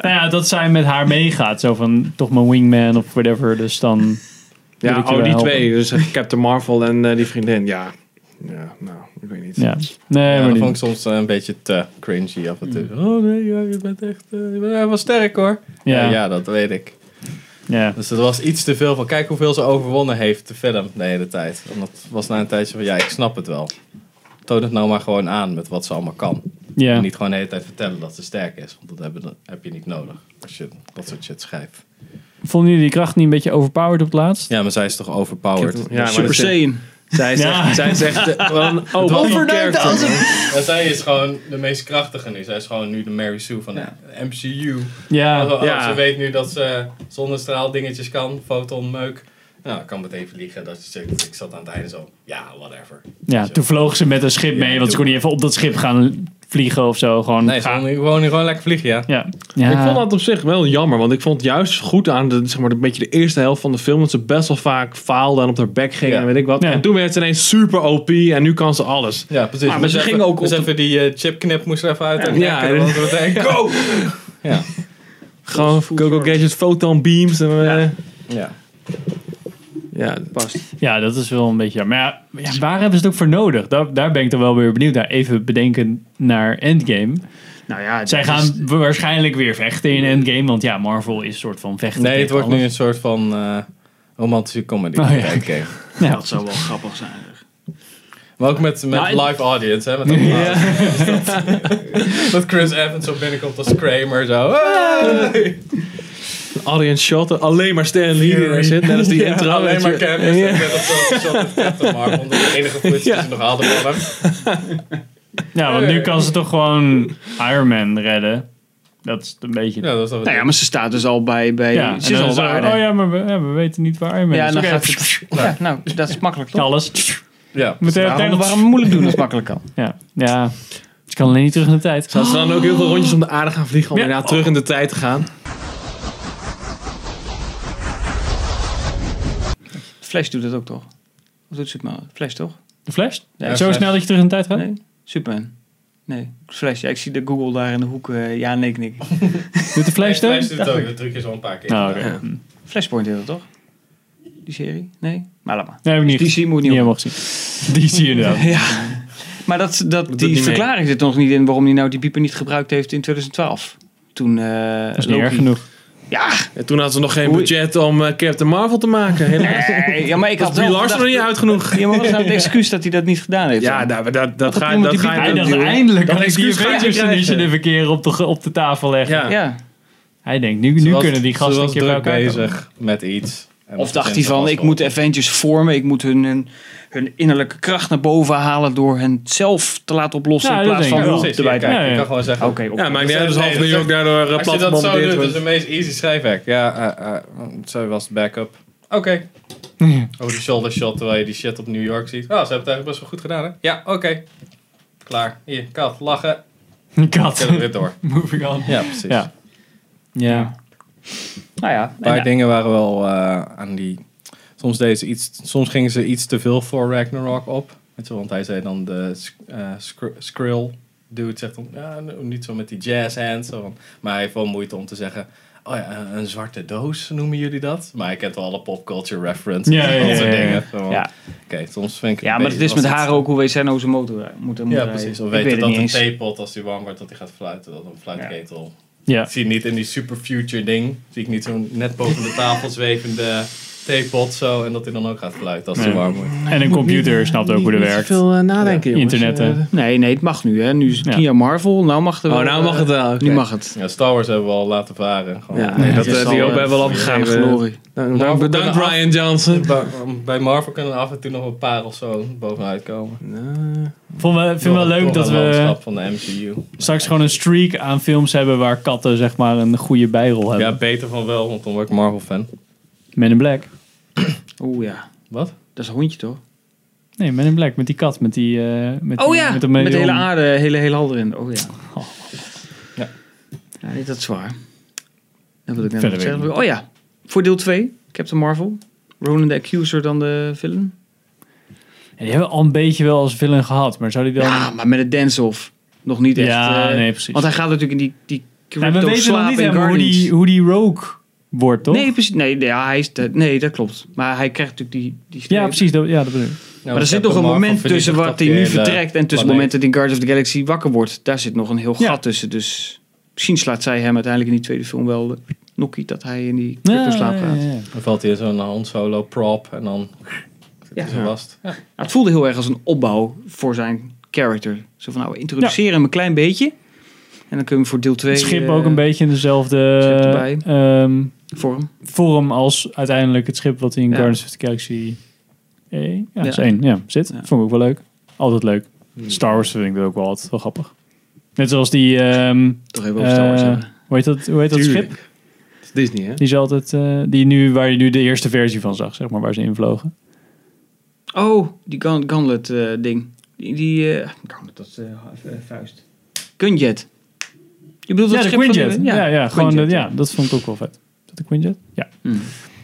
A: nou ja, dat zij met haar meegaat. Zo van, toch mijn wingman of whatever. Dus dan...
F: Ja,
A: wil ik je
F: oh,
A: wel
F: die
A: helpen.
F: twee. Dus eh, Captain Marvel en eh, die vriendin. Ja. ja, nou, ik weet niet.
A: Ja. Nee,
B: Ja,
A: maar
B: dat
A: niet. Mm.
B: vond ik soms eh, een beetje te cringy af en toe. Oh nee, ja, je bent echt eh, je bent echt wel sterk hoor.
A: Ja.
B: Ja. ja, dat weet ik.
A: Ja.
B: Dus dat was iets te veel van kijk hoeveel ze overwonnen heeft de film de hele tijd. En dat was na een tijdje van ja, ik snap het wel. Toon het nou maar gewoon aan met wat ze allemaal kan.
A: Ja.
B: En niet gewoon de hele tijd vertellen dat ze sterk is. Want dat heb, je- heb je niet nodig als je dat soort shit schrijft.
A: Vonden jullie die kracht niet een beetje overpowered op het laatst?
B: Ja, maar zij is toch overpowered.
F: Ja, maar
C: Super
F: dat-
C: Saiyan.
F: Zij is
A: Ja.
F: echt, zij is echt eh, wel een overnight als
B: Ja, zij is gewoon de meest krachtige nu. Zij is gewoon nu de Mary Sue van de MCU.
A: Ja.
B: Oh, oh,
F: Ja.
B: Ze weet nu dat ze zonnestraal dingetjes kan, fotonmeuk. Nou, ik kan meteen verliegen dat ze zegt, ik zat aan het einde zo, ja, whatever.
A: Ja, toen vloog ze met een schip mee, want ze kon niet even op dat schip gaan vliegen of zo. Gewoon
B: Nee, ze
A: gaan.
B: kon nu gewoon, gewoon lekker vliegen, ja.
A: Ja. ja.
F: Ik vond dat op zich wel jammer, want ik vond juist goed aan de, zeg maar, een beetje de eerste helft van de film dat ze best wel vaak faalde en op haar bek ging
B: Ja.
F: en weet ik wat.
A: Ja.
F: En toen werd ze ineens super OP en nu kan ze alles.
B: Ja, precies.
F: Ah, maar
B: Moest
F: ze
B: even-
F: gingen ook
B: moest
F: op de-
B: even die eh, chipknip moest er even uit. en
F: Ja,
B: en
F: en-
B: dan meteen go!
F: Gewoon Google Gadgets, Photon Beams en... eh, Ja.
B: Ja.
C: Past.
A: Ja, dat is wel een beetje. jammer. Maar ja, ja, waar hebben ze het ook voor nodig? Daar, daar ben ik dan wel weer benieuwd naar. Even bedenken naar Endgame.
C: Nou ja,
A: Zij
C: dat
A: gaan
C: is-
A: wa- waarschijnlijk weer vechten in Endgame, want ja, Marvel is een soort van vechten.
B: Nee, het
A: tegen
B: wordt nu
A: alles.
B: een soort van eh, romantische comedy.
A: Oh, ja.
B: Oké.
A: Ja,
C: Dat zou wel grappig zijn. zeg.
B: Maar ook met, met
A: Nou, en-
B: live audience, hè. Met dat, dat Chris Evans zo binnenkomt als Kramer, zo. "Ah, Hey!
F: Audience shot, alleen maar Stan Lee die er zit, net als die
B: Ja,
F: intro.
B: alleen
F: weet
B: maar
F: je.
B: cameo's. Ik heb dat zo shot met Captain Marvel. Dat is de enige footage die ze nog hadden van hem.
A: ja, want nu kan ze toch gewoon Iron Man redden. Dat is een beetje.
B: Ja, dat is toch
C: Nou ja, maar ze staat dus al bij... bij
A: Ja, en
C: ze
A: dan
C: is al
A: is het,
C: waar.
A: Oh
C: hè?
A: ja, maar we, ja, we weten niet waar Iron Man
C: Ja,
A: is.
C: en dan
A: Oké,
C: gaat
A: pff,
C: ze... Ja, nou, dat is makkelijk toch?
A: alles.
B: ja.
A: Met de
C: Waarom,
A: tangle-
C: waarom moeilijk doen als het makkelijk kan?
A: Ja, ja. Ze kan alleen niet terug in de tijd.
F: Dat ze dan ook heel veel rondjes om de aarde gaan vliegen om
A: Ja.
F: daarna terug in de tijd te gaan.
C: Flash doet dat ook toch? Wat doet Superman? Flash toch?
A: De Flash?
B: Ja,
A: Zo
B: Flash.
A: snel dat je terug in de tijd gaat?
C: Nee? Superman? Nee, Flash. Ja, ik zie de Google daar in de hoek. eh, ja, nee, knik.
A: Doet de Flash
B: Nee,
A: dat?
B: Flash doet het ook. Dat trucje is al een paar keer.
A: Nou, oké.
B: gedaan.
C: Flashpoint heet dat toch? Die serie? Nee? Maar laat maar.
A: Nee, heb ik niet,
C: Die zie moet
A: niet
C: niet op.
A: helemaal gezien. Die zie je dan.
C: Ja. Maar dat, dat, die
F: niet mee.
C: verklaring zit er nog niet in waarom hij nou die pieper niet gebruikt heeft in 2012. Toen eh
A: Dat is niet erg genoeg.
C: Ja,
F: En toen hadden ze nog geen
C: Oei.
F: budget om eh, Captain Marvel te maken. Helemaal.
C: nee, ja, maar ik
F: Dat
C: had
F: is Brie
C: wel
F: Larson nog
C: gedacht-
F: niet uit genoeg.
C: Ja, maar wat is nou het excuus dat hij dat niet gedaan heeft?
F: Ja,
C: dan?
F: dat, dat, dat, ga,
C: iemand
F: dat
C: die
F: ga
A: Hij
F: je
A: dacht
F: doen.
A: eindelijk
F: Dat
A: kan ik die
F: excuus ga je
A: Avengers
F: krijgen.
A: Edition even keer op de, op de tafel leggen.
F: Ja.
C: ja.
A: Hij denkt, nu, nu
B: Ze was-
A: kunnen die
B: ze
A: gasten een
B: was
A: keer bij
B: druk
A: elkaar komen.
B: bezig met iets. En
C: Of
B: dat
C: dacht hij
B: vindt ze
C: van,
B: vast
C: ik
B: wel.
C: moet Avengers vormen, ik moet hun, hun, hun innerlijke kracht naar boven halen door hen zelf te laten oplossen
A: Ja,
C: in
A: dat
C: plaats
A: denk
C: van
A: ik wel.
C: hulp
B: Precies, ja,
C: erbij te
B: kijk,
A: Ja,
B: je
A: ja.
B: kan gewoon zeggen...
C: Oké, op-
F: Ja, maakt niet uit. Dus
B: Nee,
F: half
B: dat
F: New York
B: zegt-
F: daardoor eh,
B: Als je dat
F: plat
B: zo
F: gebombardeerd
B: doet, dat
F: wordt.
B: is de meest easy schrijfwerk. Ja, eh, eh, zo was de backup. Oké. Over de shoulder shot, terwijl je die shit op New York ziet. Oh, ze hebben het eigenlijk best wel goed gedaan, hè? Ja, oké. Klaar. Hier, kat, lachen.
A: Kat,
B: Kunnen we weer door.
A: moving on.
B: Ja, precies.
A: Ja. Ja.
C: Nou ja,
B: Een paar dingen waren wel eh, aan die. Soms, deden ze iets, soms gingen ze iets te veel voor Ragnarok op. Weet je, wel, want hij zei dan de sk- eh, skr- Skrill dude zegt dan ja, nou, niet zo met die jazz hands. zo van- maar hij heeft wel moeite om te zeggen. Oh ja, een, een zwarte doos noemen jullie dat? Maar ik kent wel alle popculture references
A: Ja,
B: en
A: ja,
B: dat soort
A: ja, ja.
B: dingen. Zo van,
C: Ja.
B: Oké, soms vind ik
C: ja maar het is
B: was
C: met haar ook hoe Wezeno zijn motor eh, rijdt. moet moet
B: Ja,
C: rijden.
B: precies. Of
C: Ik
B: weet je
C: het
B: dat
C: niet
B: een
C: eens.
B: theepot als die warm wordt, dat hij gaat fluiten. Dat een fluitketel.
A: Ja.
B: Ik zie niet in die super future ding. Zie ik niet zo'n net boven de tafel zwevende theepot zo. En dat hij dan ook gaat fluiten als hij
A: Ja.
B: warm wordt.
A: En een computer snapt ook hoe dat werkt.
F: Veel nadenken,
A: jongens. Internetten.
C: Nee, nee, het mag nu. Hè. Nu is het
A: eh. Ja.
C: niet aan Marvel. Nou mag het wel,
F: oh, nou
C: eh,
F: mag het wel. oké.
C: Nu mag het.
B: Ja, Star Wars hebben we al laten varen. Gewoon.
F: Ja, nee,
C: het
F: dat,
C: is
F: eh,
C: al, Nou,
F: die hoop
C: eh,
F: hebben we al
C: Gaan
F: opgegeven.
C: verloren.
F: Dank, dank-
B: Maar we
F: bedankt
B: kunnen af-
F: Ryan Johnson.
B: Bij, bij Marvel kunnen er af en toe nog een paar of zo bovenuit komen.
A: Vond wel- vind wel
B: Door- door
A: leuk dat
B: het
A: we
B: landschap van de MCU.
A: straks gewoon een streak aan films hebben waar katten zeg maar een goede bijrol hebben.
B: Ja,
C: Um,
B: beter van wel, want dan word ik Marvel-fan.
A: Men in Black.
C: Oeh ja.
B: Wat?
C: Dat is een hondje toch?
A: Nee, Men in Black met die kat, met die... eh, met
C: Oh
A: die-
C: ja. Met,
A: dat
C: de hele
A: medaillon.
C: aarde, hele, hele hal erin. Oh ja.
B: Ja.
C: Ja, nee, dat is waar. Dat wil ik net
A: Verder
C: nog
A: weet ik
C: zeggen. Oh ja. Voor deel 2, Captain Marvel. Ronan de Accuser dan de villain.
A: Ja, die hebben we al een beetje wel als villain gehad, maar zou die dan...
C: Ja, maar met een dance-off. Nog niet echt.
A: Ja,
C: eh,
A: nee, precies.
C: Want hij gaat natuurlijk in die, die
A: Nou,
C: crypto
A: we weten nog
C: slaap
A: niet
C: in
A: helemaal hoe
C: Guardians.
A: die, hoe die rogue wordt, toch?
C: Nee, precies. Nee, nee, ja, hij is de- nee, dat klopt. Maar hij krijgt natuurlijk die... die streep.
A: ja, precies. Dat, ja, dat bedoel ik.
C: Maar er zit nog een moment tussen wat hij nu vertrekt... en tussen het moment dat hij in Guardians of the Galaxy wakker wordt. Daar zit nog een heel
A: Ja.
C: gat tussen. Dus misschien slaat zij hem uiteindelijk in die tweede film wel... eh, Nokkie dat hij in die
A: Ja,
C: crypto slaap gaat.
A: ja, ja, ja.
B: Dan valt hij in zo'n Han Solo prop en dan zit hij
C: Ja.
B: zo vast.
C: Nou, het voelde heel erg als een opbouw voor zijn character. Zo van, nou, we introduceren hem een klein beetje. En dan kunnen we voor deel eh, 2...
A: Het schip ook een beetje in
C: schip erbij.
A: dezelfde ehm,
C: Vorm.
A: vorm als uiteindelijk het schip wat in
C: Ja.
A: Guardians of the Galaxy één, ja,
C: Ja.
A: is één, ja, zit.
C: Ja. Hmm.
A: Vond ik ook wel leuk. Altijd leuk. Star Wars vind ik dat ook wel altijd wel grappig. Net zoals die, ehm,
C: Toch even over Star Wars
A: eh,
C: hebben.
A: hoe heet dat, hoe heet dat
F: Tuurlijk.
A: schip?
F: Het is Disney, hè?
A: Die is altijd, eh, die nu, waar je nu de eerste versie van zag, zeg maar, waar ze in vlogen.
C: Oh, die gun- gauntlet eh, ding. Die, die eh, gauntlet, dat is eh, eh, vuist. Gunjet. Je bedoelt
A: Ja,
C: dat
A: de
C: schip van
A: Quinjet. Ja, ja, gewoon,
C: Quinjet,
A: eh, ja, dat vond ik ook wel vet. Dat de Quinjet? Ja.
C: Hmm.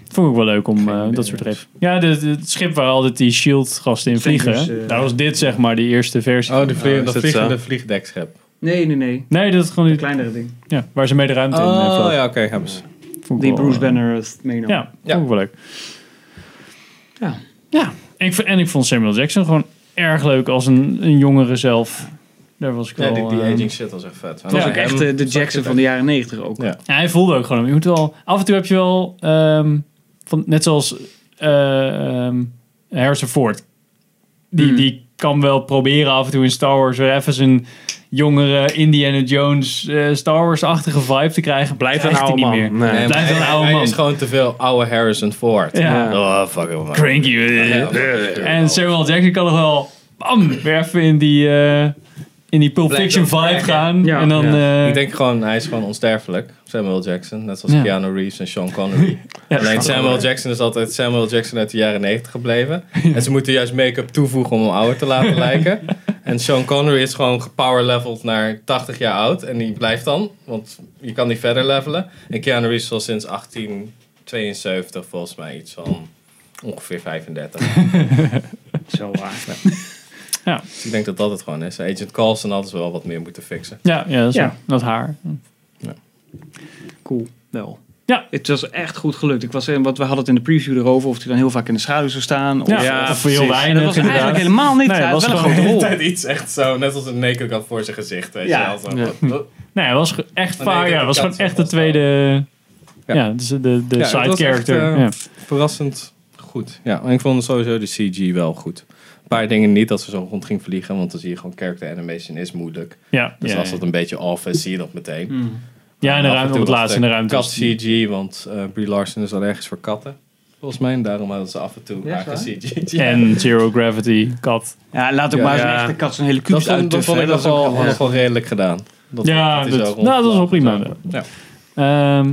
A: Vond ik ook wel leuk om eh,
C: idee,
A: dat soort reden. Ja, de- de- het schip waar altijd die shield gasten in
C: Tankers,
A: vliegen. hè.
C: eh,
A: Daar was dit zeg maar de eerste versie.
B: Oh, die vlie-
F: is
B: dat
F: dat
B: vliegende
F: zo?
B: vliegdekschep.
C: Nee, nee, nee.
A: Nee, dat is gewoon
C: Een
A: die,
C: kleinere ding.
A: ja, waar ze mee de ruimte in eh,
B: Oh,
A: vlogen.
B: ja, oké, hebben ze.
A: Vond ik
C: Die
A: wel,
C: Bruce
A: eh,
C: Banner het meenam.
A: Ja,
B: Ja.
A: vond ik wel leuk.
C: Ja.
A: Ja, en ik, v- en ik vond Samuel Jackson gewoon erg leuk als een, een jongere zelf. Daar was ik
B: Ja,
A: wel...
B: die, die
A: eh,
B: aging shit was echt vet.
C: Dat was ook echt eh, de Jackson van de jaren negentig ook.
B: Ja.
A: Ja, hij voelde ook gewoon. Je moet wel, af en toe heb je wel, ehm, van, net zoals eh, ehm, Harrison Ford. Die,
C: Mhm.
A: die kan wel proberen af en toe in Star Wars weer even zijn jongere Indiana Jones eh, Star Wars-achtige vibe te krijgen.
F: Blijf een
A: Krijgt hij
C: nou
F: oude
A: niet
F: man.
A: meer.
F: Nee.
C: eh,
B: Nee, maar
A: Blijf wel
B: hij-
A: een oude
B: hij
A: man.
B: is gewoon te veel oude Harrison Ford.
A: Ja.
B: Oh, fuck it. man.
A: Cranky.
B: Ja, fuck it.
A: En Samuel Jackson kan nog wel, bam, weer even in die, eh, in die Pulp
B: Black
A: Fiction
B: Dog
A: vibe
B: Black,
A: gaan.
C: ja.
A: en dan... eh,
B: Ik denk gewoon, hij is gewoon onsterfelijk. Samuel Jackson, net zoals
A: Ja.
B: Keanu Reeves en Sean Connery. Alleen Samuel Jackson is altijd Samuel Jackson uit de jaren 90 gebleven. En ze moeten juist make-up toevoegen om hem ouder te laten lijken. En Sean Connery is gewoon gepowerleveld naar 80 jaar oud. En die blijft dan, want je kan niet verder levelen. En Keanu Reeves is al sinds 1872 volgens mij iets van ongeveer 35.
C: Zo waar.
B: Dus ik denk dat dat het gewoon is. Agent Carlson hadden ze wel wat meer moeten fixen.
A: ja, ja, dat is
C: Ja.
A: waar. Dat haar.
C: Cool. Wel.
A: Ja.
C: Het was echt goed gelukt. Ik was, eh, want we hadden het in de preview erover of hij dan heel vaak in de schaduw zou staan. Of,
A: Ja,
F: Ja,
A: of heel
F: precies.
A: weinig.
C: en dat was
A: inderdaad.
C: eigenlijk helemaal niet.
A: Nee,
C: Hij had
A: was
C: wel een
A: gewoon
C: grote rol.
B: Tijd iets echt zo, net als een naked gun voor zijn gezicht. Weet
C: Ja.
B: je wel. Zo,
A: Nee, het was ge- echt
B: Maar
A: vaak.
B: nee,
A: Ja, het was
B: dat
A: gewoon
B: kan
A: echt de
B: zo wel.
A: tweede.
B: Ja.
A: Ja, dus de, de
B: Ja, het
A: side
B: was echt,
A: character.
B: eh,
A: ja.
B: verrassend goed. Ja, en ik vond sowieso de CG wel goed. Een paar dingen niet dat ze zo rond ging vliegen, want dan zie je gewoon character animation is moeilijk.
A: ja,
B: Dus
A: ja,
B: als
A: ja.
B: dat een beetje off is, zie je dat meteen.
A: ja, in de
B: En af en
A: ruimte,
B: toe
A: op het
B: was
A: laatst in de ruimte.
B: Kat
A: was die-
B: CG, want eh Brie Larson is al ergens voor katten. Volgens mij, en daarom hadden ze af en toe
C: Ja,
B: ja,
C: is waar.
B: CG.
A: En Zero Gravity, kat.
C: Ja, laat ook
B: Ja.
C: maar eens een
F: Ja.
C: echte kat zijn hele
B: dat
C: kubus
B: vond, dat
C: uittuffen.
B: vond ik
C: hè.
B: nog wel,
C: ook- dus ja.
B: nog wel redelijk gedaan. Dat,
A: Ja,
B: hij zo
A: dat-
B: rond-
A: nou, dat is wel prima.
B: Ja.
A: Ehm,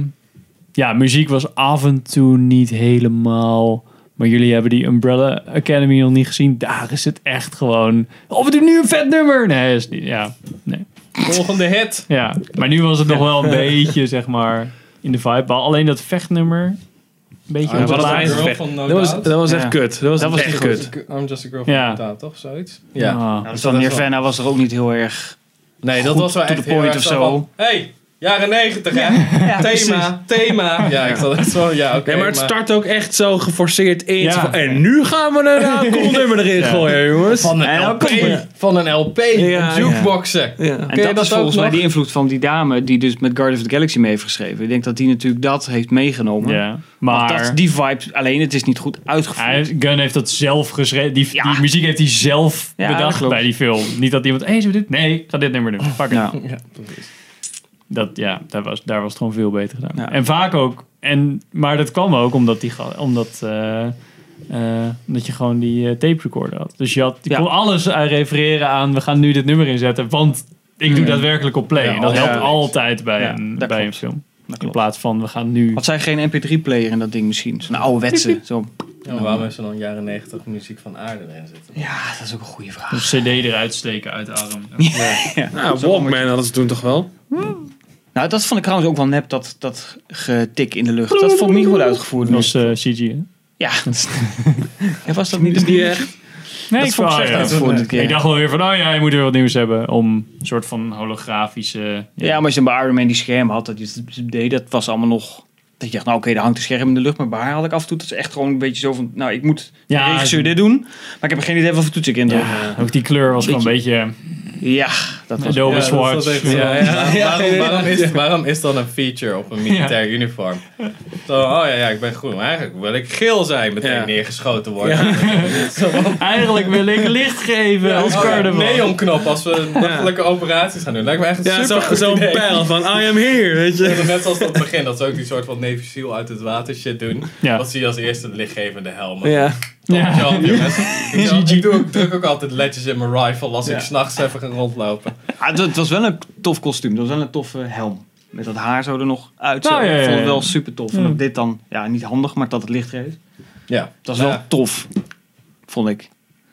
A: ja, muziek was af en toe niet helemaal. Maar jullie hebben die Umbrella Academy nog niet gezien. Daar is het echt gewoon. Of we doen nu een vet nummer. Nee, is niet. Ja, nee.
B: Volgende hit!
A: Ja, maar nu was het nog wel een beetje, zeg maar, in de vibe. Alleen dat vechtnummer, een beetje...
B: I'm
F: wat
B: just
F: een
B: a
F: eind
B: girl
F: gevecht.
B: van No
F: Dat was,
B: Doubt.
F: dat was echt
C: Ja.
F: kut. Dat was,
C: Dat was
F: echt
C: niet
F: kut.
B: I'm just a girl van
A: Ja.
B: No Doubt, toch? Zoiets?
A: ja.
C: Ja, dus dan Nirvana was er ook niet heel erg...
B: Nee, dat
C: Goed
B: was wel
C: to
B: echt
C: the point
B: heel erg
C: of
B: zo
C: zo.
B: van, hey, Jaren negentig, hè? thema, thema. Ja, ik zat echt zo, ja, oké.
F: Nee, maar het start ook echt zo geforceerd in.
A: Ja.
F: Zo van, en nu gaan we er een cool nummer erin gooien, Oh, jongens.
B: van
C: En
B: een
C: dan
B: LP,
C: komen we-
B: van een LP,
F: Ja,
B: jukeboxen.
F: Ja.
B: Ken je
C: En dat
B: dat
C: is
B: ook
C: volgens mij
B: nog?
C: die invloed van die dame die dus met Guardians of the Galaxy mee heeft geschreven. Ik denk dat die natuurlijk dat heeft meegenomen.
A: Ja,
C: Want dat is
A: maar
C: die vibe alleen, het is niet goed uitgevoerd.
A: hij heeft- Gunn heeft dat zelf geschreven. Die,
C: Ja.
A: die muziek heeft hij zelf
C: Ja, dat
A: bedacht
C: klopt.
A: bij die film. Niet dat iemand, hé, hey, zullen we dit? Nee, ik ga dit nummer doen. Fuck it.
C: Ja.
A: Dat, ja, daar was, daar was het gewoon veel beter gedaan.
C: Ja.
A: En vaak ook. En, maar dat kwam ook omdat, die, ga- omdat, eh, eh, omdat je gewoon die eh, tape recorder had. Dus je, had, je
C: Ja.
A: kon alles eh, refereren aan, we gaan nu dit nummer inzetten, want ik doe daadwerkelijk op play.
B: Ja,
A: en dat
B: ja.
A: helpt altijd bij,
C: Hmm. Ja,
A: een,
C: dat
A: bij een
C: klopt.
A: film. In
C: klopt.
A: plaats van, we gaan nu...
C: Had zij geen mp3-player in dat ding misschien? Zo'n ouderwetse. Zo.
B: Ja, maar waarom heeft ze dan jaren negentig muziek van aarde erin zitten?
C: Ja, dat is ook een goede vraag.
A: Een cd eruit steken uit de arm.
F: Nou, Walkman hadden ze toen toch wel?
C: Nou, dat vond ik trouwens ook wel nep, dat, dat getik in de lucht. Dat vond ik niet goed uitgevoerd.
A: Dat was eh, CG, hè?
C: Ja, dat is- Ja, was dat niet, niet echt?
A: Nee,
C: Dat vond ik slecht uitgevoerd dit keer.
A: Ik dacht wel weer van, oh ja, je moet weer wat nieuws hebben. Om een soort van holografische...
C: Ja, maar als je bij Iron Man die scherm had, dat je het deed, dat was allemaal nog... Dat je dacht, nou oké, daar hangt een scherm in de lucht. Maar bij haar had ik af en toe, dat is echt gewoon een beetje zo van... Nou, ik moet
A: Ja,
C: de regisseur dit doen. Maar ik heb geen idee wat voor toets ik in
A: Ja, eh, ook die kleur was gewoon een beetje
C: Ja, dat was...
A: Adobe
B: Ja, dat
A: Swatch.
B: is wel echt zo.
A: Ja,
B: Waarom- waarom- Waarom is- waarom is dan een feature op een militair uniform? Zo, oh ja, ja, ik ben groen. Maar eigenlijk wil ik geel zijn, meteen
F: Ja.
B: neergeschoten worden.
A: Eigenlijk wil ik licht geven als
B: Oh, ja,
A: carnaval.
B: neonknop als we nachtelijke operaties gaan doen. Lijkt me echt een
F: Ja,
B: super
F: zo- zo'n
B: idee.
F: pijl van I am here, weet je.
B: Dat is Net zoals op het begin, dat ze ook die soort van Navy Seal uit het water shit doen.
A: Ja.
B: Wat zie je als eerste de lichtgevende helmen.
F: Ja.
B: Weet je wel, jongens. Ik, doe- ik, doe, ook- druk ook altijd ledges in mijn rifle als ik s'nachts even ga rondlopen.
C: Ah, het, het was wel een tof kostuum. Dat was wel een toffe helm. Met dat haar zo er nog uit. zo.
A: Nou, ja, ja,
C: Ik vond het
A: ja.
C: wel super tof. En dat dit dan, ja, niet handig, maar dat het licht geeft.
B: Ja.
C: Dat is wel
B: Ja.
C: tof, vond ik.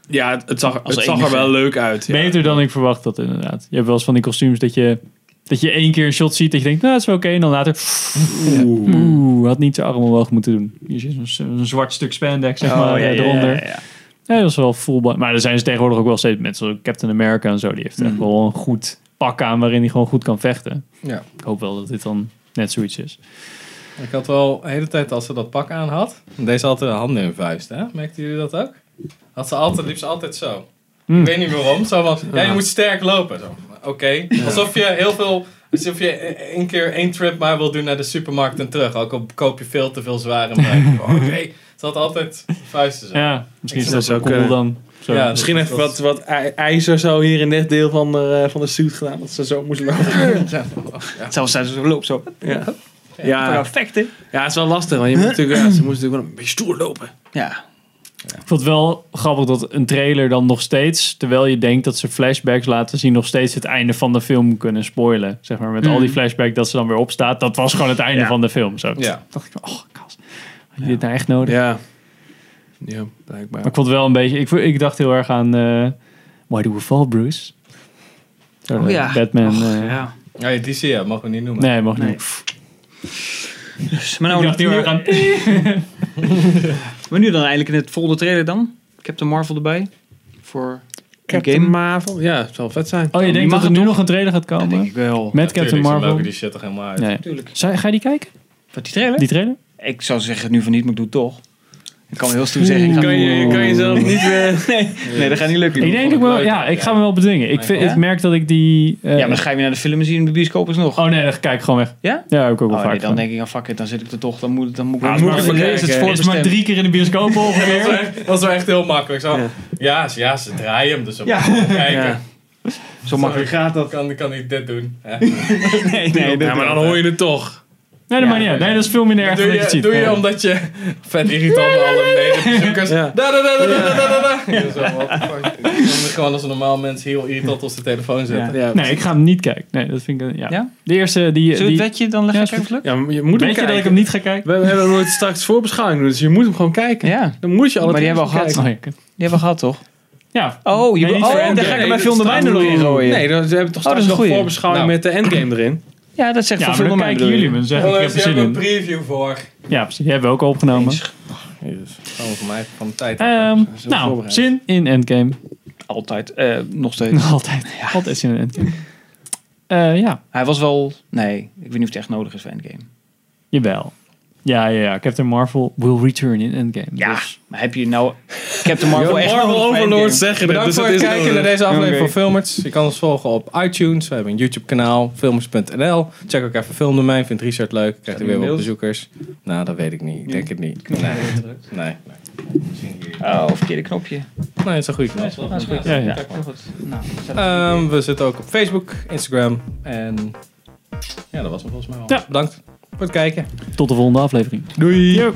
F: Ja, het, het zag,
C: Als
F: het zag er
C: enige.
F: wel leuk uit. Ja.
A: Beter dan ik verwacht dat inderdaad. Je hebt wel eens van die kostuums dat je, dat je één keer een shot ziet. Dat je denkt, nou, dat is wel oké. En dan later, oeh, had niet zijn arm omhoog moeten doen. Hier zit zo'n- zo'n zwart stuk spandex,
C: Oh,
A: zeg maar, eh, eronder. Ja, dat is wel voelbaar. Maar er zijn ze tegenwoordig ook wel steeds mensen zoals Captain America en zo. Die heeft echt wel een goed pak aan waarin hij gewoon goed kan vechten.
B: Ja.
A: Ik hoop wel dat dit dan net zoiets is.
B: Ik had wel de hele tijd als ze dat pak aan had. Deze altijd de handen in hun vuist, hè? Merkten jullie dat ook? Had ze altijd, liep ze altijd zo.
F: Hmm.
B: Ik weet niet waarom. Zo was, ja, je moet sterk lopen. Zo. Oké. Alsof je heel veel. Alsof je e- één keer één trip maar wil doen naar de supermarkt en terug. Ook al koop je veel te veel zware merken. Oh, Oké. Ze had altijd vuisten zo.
A: Ja, misschien is
B: Ik
A: dat
F: zou
A: zo
F: het ook,
A: cool
F: eh,
A: dan. Zo.
B: Ja,
F: Misschien
B: dat-
F: even
B: dat-
F: wat, wat ij- ijzer zo hier in dit deel van de, eh, van de suit gedaan. Dat ze zo moest lopen.
C: Zelfs tijdens zo'n loop zo.
F: Ja.
C: Ja.
F: Ja.
C: Vechten.
F: ja, het is wel lastig. Want je moet natuurlijk, ja, ze moest natuurlijk wel een beetje stoer lopen.
C: Ja.
A: Ik vond het wel grappig dat een trailer dan nog steeds, terwijl je denkt dat ze flashbacks laten zien, nog steeds het einde van de film kunnen spoilen. Zeg maar met al die flashback dat ze dan weer opstaat, dat was gewoon het einde van de film. Zo.
B: Ja.
A: dacht ik, oh kast, had je dit nou echt nodig?
F: Ja. Ja, blijkbaar.
A: Maar ik vond het wel een beetje, ik, vo- ik dacht heel erg aan eh, Why Do We Fall, Bruce? Zo,
C: Oh, ja.
A: Batman.
C: Och,
A: eh,
C: ja.
B: dus- Ja, die zie je, mogen we niet noemen.
A: Nee, mag niet.
C: Nee. Dus, maar,
A: Ik
C: nou,
A: dacht heel erg aan...
C: maar nu dan eigenlijk in het volgende trailer dan. Captain Marvel erbij. Voor
F: Captain
C: Endgame.
F: Marvel. Ja, het zal vet zijn.
A: Oh, je
C: Die
A: denkt
C: mag
A: dat er
C: het
A: nu
C: toch?
A: nog een trailer gaat
C: Dat
A: komen?
C: denk ik wel.
A: Met Captain
B: Tuurlijk, ze
A: Marvel?
B: lopen die shit er helemaal uit.
A: Nee.
C: Tuurlijk.
A: Zou- Ga je die kijken?
C: Wat die trailer?
A: Die trailer?
C: Ik zou zeggen nu van niet, maar ik doe het toch. Ik kan wel heel stoer zeggen. Ik ga
F: Kan je, kan je zelf niet weer...
C: Nee, nee, dat gaat niet lukken.
A: Ik denk ik wel, ja, ik ga me wel bedwingen. Ik, vind,
C: Ja?
A: ik merk dat ik die. eh,
C: Ja, maar dan ga je weer naar de film zien in de bioscoop is nog.
A: Oh nee, dan kijk ik gewoon weg.
C: Ja?
A: Ja, heb ik ook wel
C: Oh,
A: vaak.
C: nee, dan
A: gedaan.
C: denk ik, ja, fuck it, dan zit ik er toch. Dan moet, dan moet ik
F: Ah,
C: dan
F: moet
C: moet
F: ik
C: ik
F: even
C: lezen, het
F: kijken.
C: voor
A: Er is maar
C: bestemd.
A: drie keer in de bioscoop
B: Dat is
A: ongeveer.
B: echt- Dat is wel echt heel makkelijk. Zo. Ja. Ja, ze- ja, ze draaien hem, dus we moeten gaan kijken.
F: Ja.
C: Zo makkelijk.
B: gaat dat? Kan, kan niet dit doen. hè?
C: Nee, nee,
F: Ja, maar dan hoor je het toch.
A: Nee, dat maakt niet uit. Nee, dat is veel minder erg
B: Doe
A: dan dat je het
B: je,
A: ziet.
B: doe je
A: Ja.
B: omdat je vet irritant alle medebezoekers.
F: Ja.
B: Da da da da da da da da. Ja, zo, what the fuck. Ik vind het Gewoon als een normaal mens heel irritant op de telefoon zetten.
F: Ja,
A: Nee, ik ga hem niet kijken. Nee, dat vind ik... Ja.
C: Ja?
A: De eerste die...
C: Zullen
A: die
C: we het wetje dan leggen?
A: Ja, is
C: Kijk of het lukt?
F: ja maar je moet
A: weet
F: hem
A: je dat
F: kijken.
A: ik hem niet ga kijken?
F: We hebben we hebben nooit straks voorbeschouwing doen, dus je moet hem gewoon kijken.
C: Ja,
F: Dan moet je alle
C: Maar die
F: trailers
C: hebben we al
F: bekijken.
A: Oh, ja, kut.
C: die hebben we gehad toch?
A: ja.
C: Oh, je
A: Nee, niet
C: oh,
A: voor
C: daar
A: Endgame.
C: ga ik
F: Nee,
C: mijn
F: dat
C: film de
F: staat
C: wijn er nog in gooien.
F: Nee, dan hebben we toch
C: dat is
F: straks
C: een
F: nog
C: goeie.
F: voorbeschouwing
B: Nou.
F: met de endgame erin.
C: Ja, dat zegt
A: Ja,
C: van
A: maar
C: film de
A: dan
C: wijn.
A: kijken
C: bedoel je.
A: jullie hem en zeggen ik
B: Anders
A: heb er
B: heb
A: zin
B: je een
A: in.
B: preview voor.
A: Ja, precies. Die hebben we ook al opgenomen.
B: Gewoon voor mij van de tijd.
A: Ehm,
F: Zo
A: nou,
F: voorbereid.
A: zin in Endgame.
C: Altijd, eh, nog steeds.
A: Altijd. Altijd zin in Endgame. Eh, ja,
C: Hij was wel... Nee, ik weet niet of het echt nodig is voor Endgame.
A: jawel. Ja, ja, ja. Captain Marvel will return in Endgame.
C: Ja,
A: Dus-
C: maar heb je nou Captain Marvel echt
F: Marvel
C: nodig voor
F: Overlord
C: Endgame?
F: zeggen dit,
B: Bedankt
F: dus
B: voor
F: het
B: het
F: is
B: kijken naar deze aflevering
C: Oké.
B: van Filmers. Je kan ons volgen op iTunes. We hebben een YouTube kanaal, filmers.nl. Check ook even filmdomein. Vindt Richard leuk? Krijgt hij weer wat bezoekers? Nou, dat weet ik niet. Ik denk het niet. Nee. Nee,
C: Oh, verkeerde knopje.
B: nee het is een goede kanaal.
C: Dat is goed.
A: Dus, Ja, ja.
C: Heel goed. Nou, zet-
B: Ehm, we zitten ook op Facebook, Instagram en... Ja, dat was hem volgens mij al.
A: Ja.
B: Bedankt voor het kijken.
A: Tot de volgende aflevering.
B: Doei!
A: Yep.